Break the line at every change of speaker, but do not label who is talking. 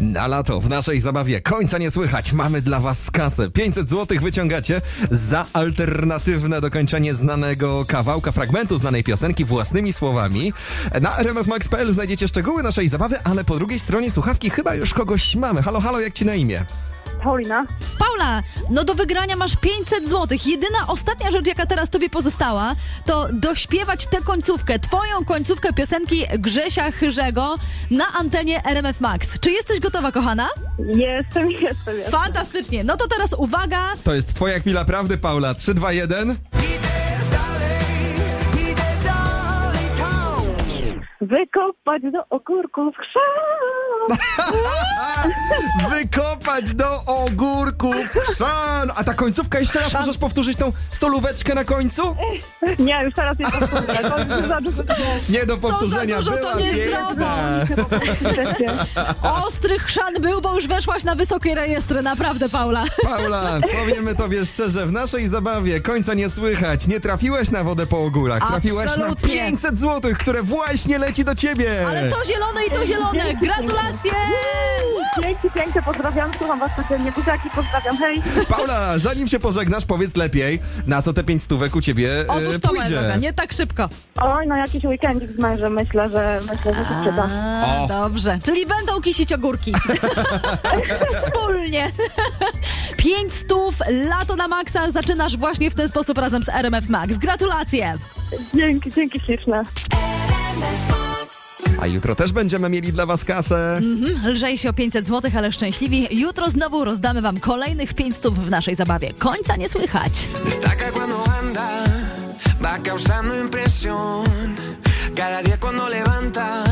Na lato w naszej zabawie końca nie słychać. Mamy dla Was kasę. 500 zł wyciągacie za alternatywne dokończenie znanego kawałka, fragmentu znanej piosenki własnymi słowami. Na rmfmax.pl znajdziecie szczegóły naszej zabawy, ale po drugiej stronie słuchawki chyba już kogoś mamy. Halo, halo, jak Ci na imię?
Paulina,
Paula, no do wygrania masz 500 zł. Jedyna ostatnia rzecz, jaka teraz tobie pozostała, to dośpiewać tę końcówkę, twoją końcówkę piosenki Grzesia Chyrzego na antenie RMF Max. Czy jesteś gotowa, kochana?
jestem, jestem, jestem.
Fantastycznie. No to teraz uwaga.
To jest Twoja chwila prawdy, Paula. 3, 2, 1.
Wykopać do ogórków chrzan.
Wykopać do ogórków szan! A ta końcówka jeszcze raz, możesz powtórzyć tą stolóweczkę na końcu?
Nie, już teraz nie powtórzę. To już za dużo to było.
Nie do
za
powtórzenia,
dużo, to
była
nie
piękna.
zdrowo.
Przecież.
Ostry chrzan był, bo już weszłaś na wysokie rejestry. Naprawdę, Paula.
Paula, powiemy tobie szczerze, w naszej zabawie końca nie słychać. Nie trafiłeś na wodę po ogórach, trafiłeś na
Absolutnie.
500 zł, które właśnie leci do ciebie.
Ale to zielone i to zielone. Gratulacje!
Dzięki piękne, pozdrawiam, słucham was codziennie. Buziaki, pozdrawiam, hej.
Paula, zanim się pożegnasz, powiedz lepiej, na co te 5 stówek u ciebie e,
Otóż to, moja
pójdzie.
droga, nie tak szybko.
Oj, no jakiś weekendzik z mężem, myślę, że myślę, że się przyda.
A,
O.
dobrze. Czyli będą kisić ogórki. Wspólnie. Pięć stów, lato na maksa. Zaczynasz właśnie w ten sposób razem z RMF Max. Gratulacje.
Dzięki, dzięki śliczne.
A jutro też będziemy mieli dla was kasę.
Mhm, Lżej się o 500 zł, ale szczęśliwi. Jutro znowu rozdamy wam kolejnych pięć stów w naszej zabawie. Końca nie słychać.
Destaca cuando anda, va causando impresión. Cada día cuando levanta,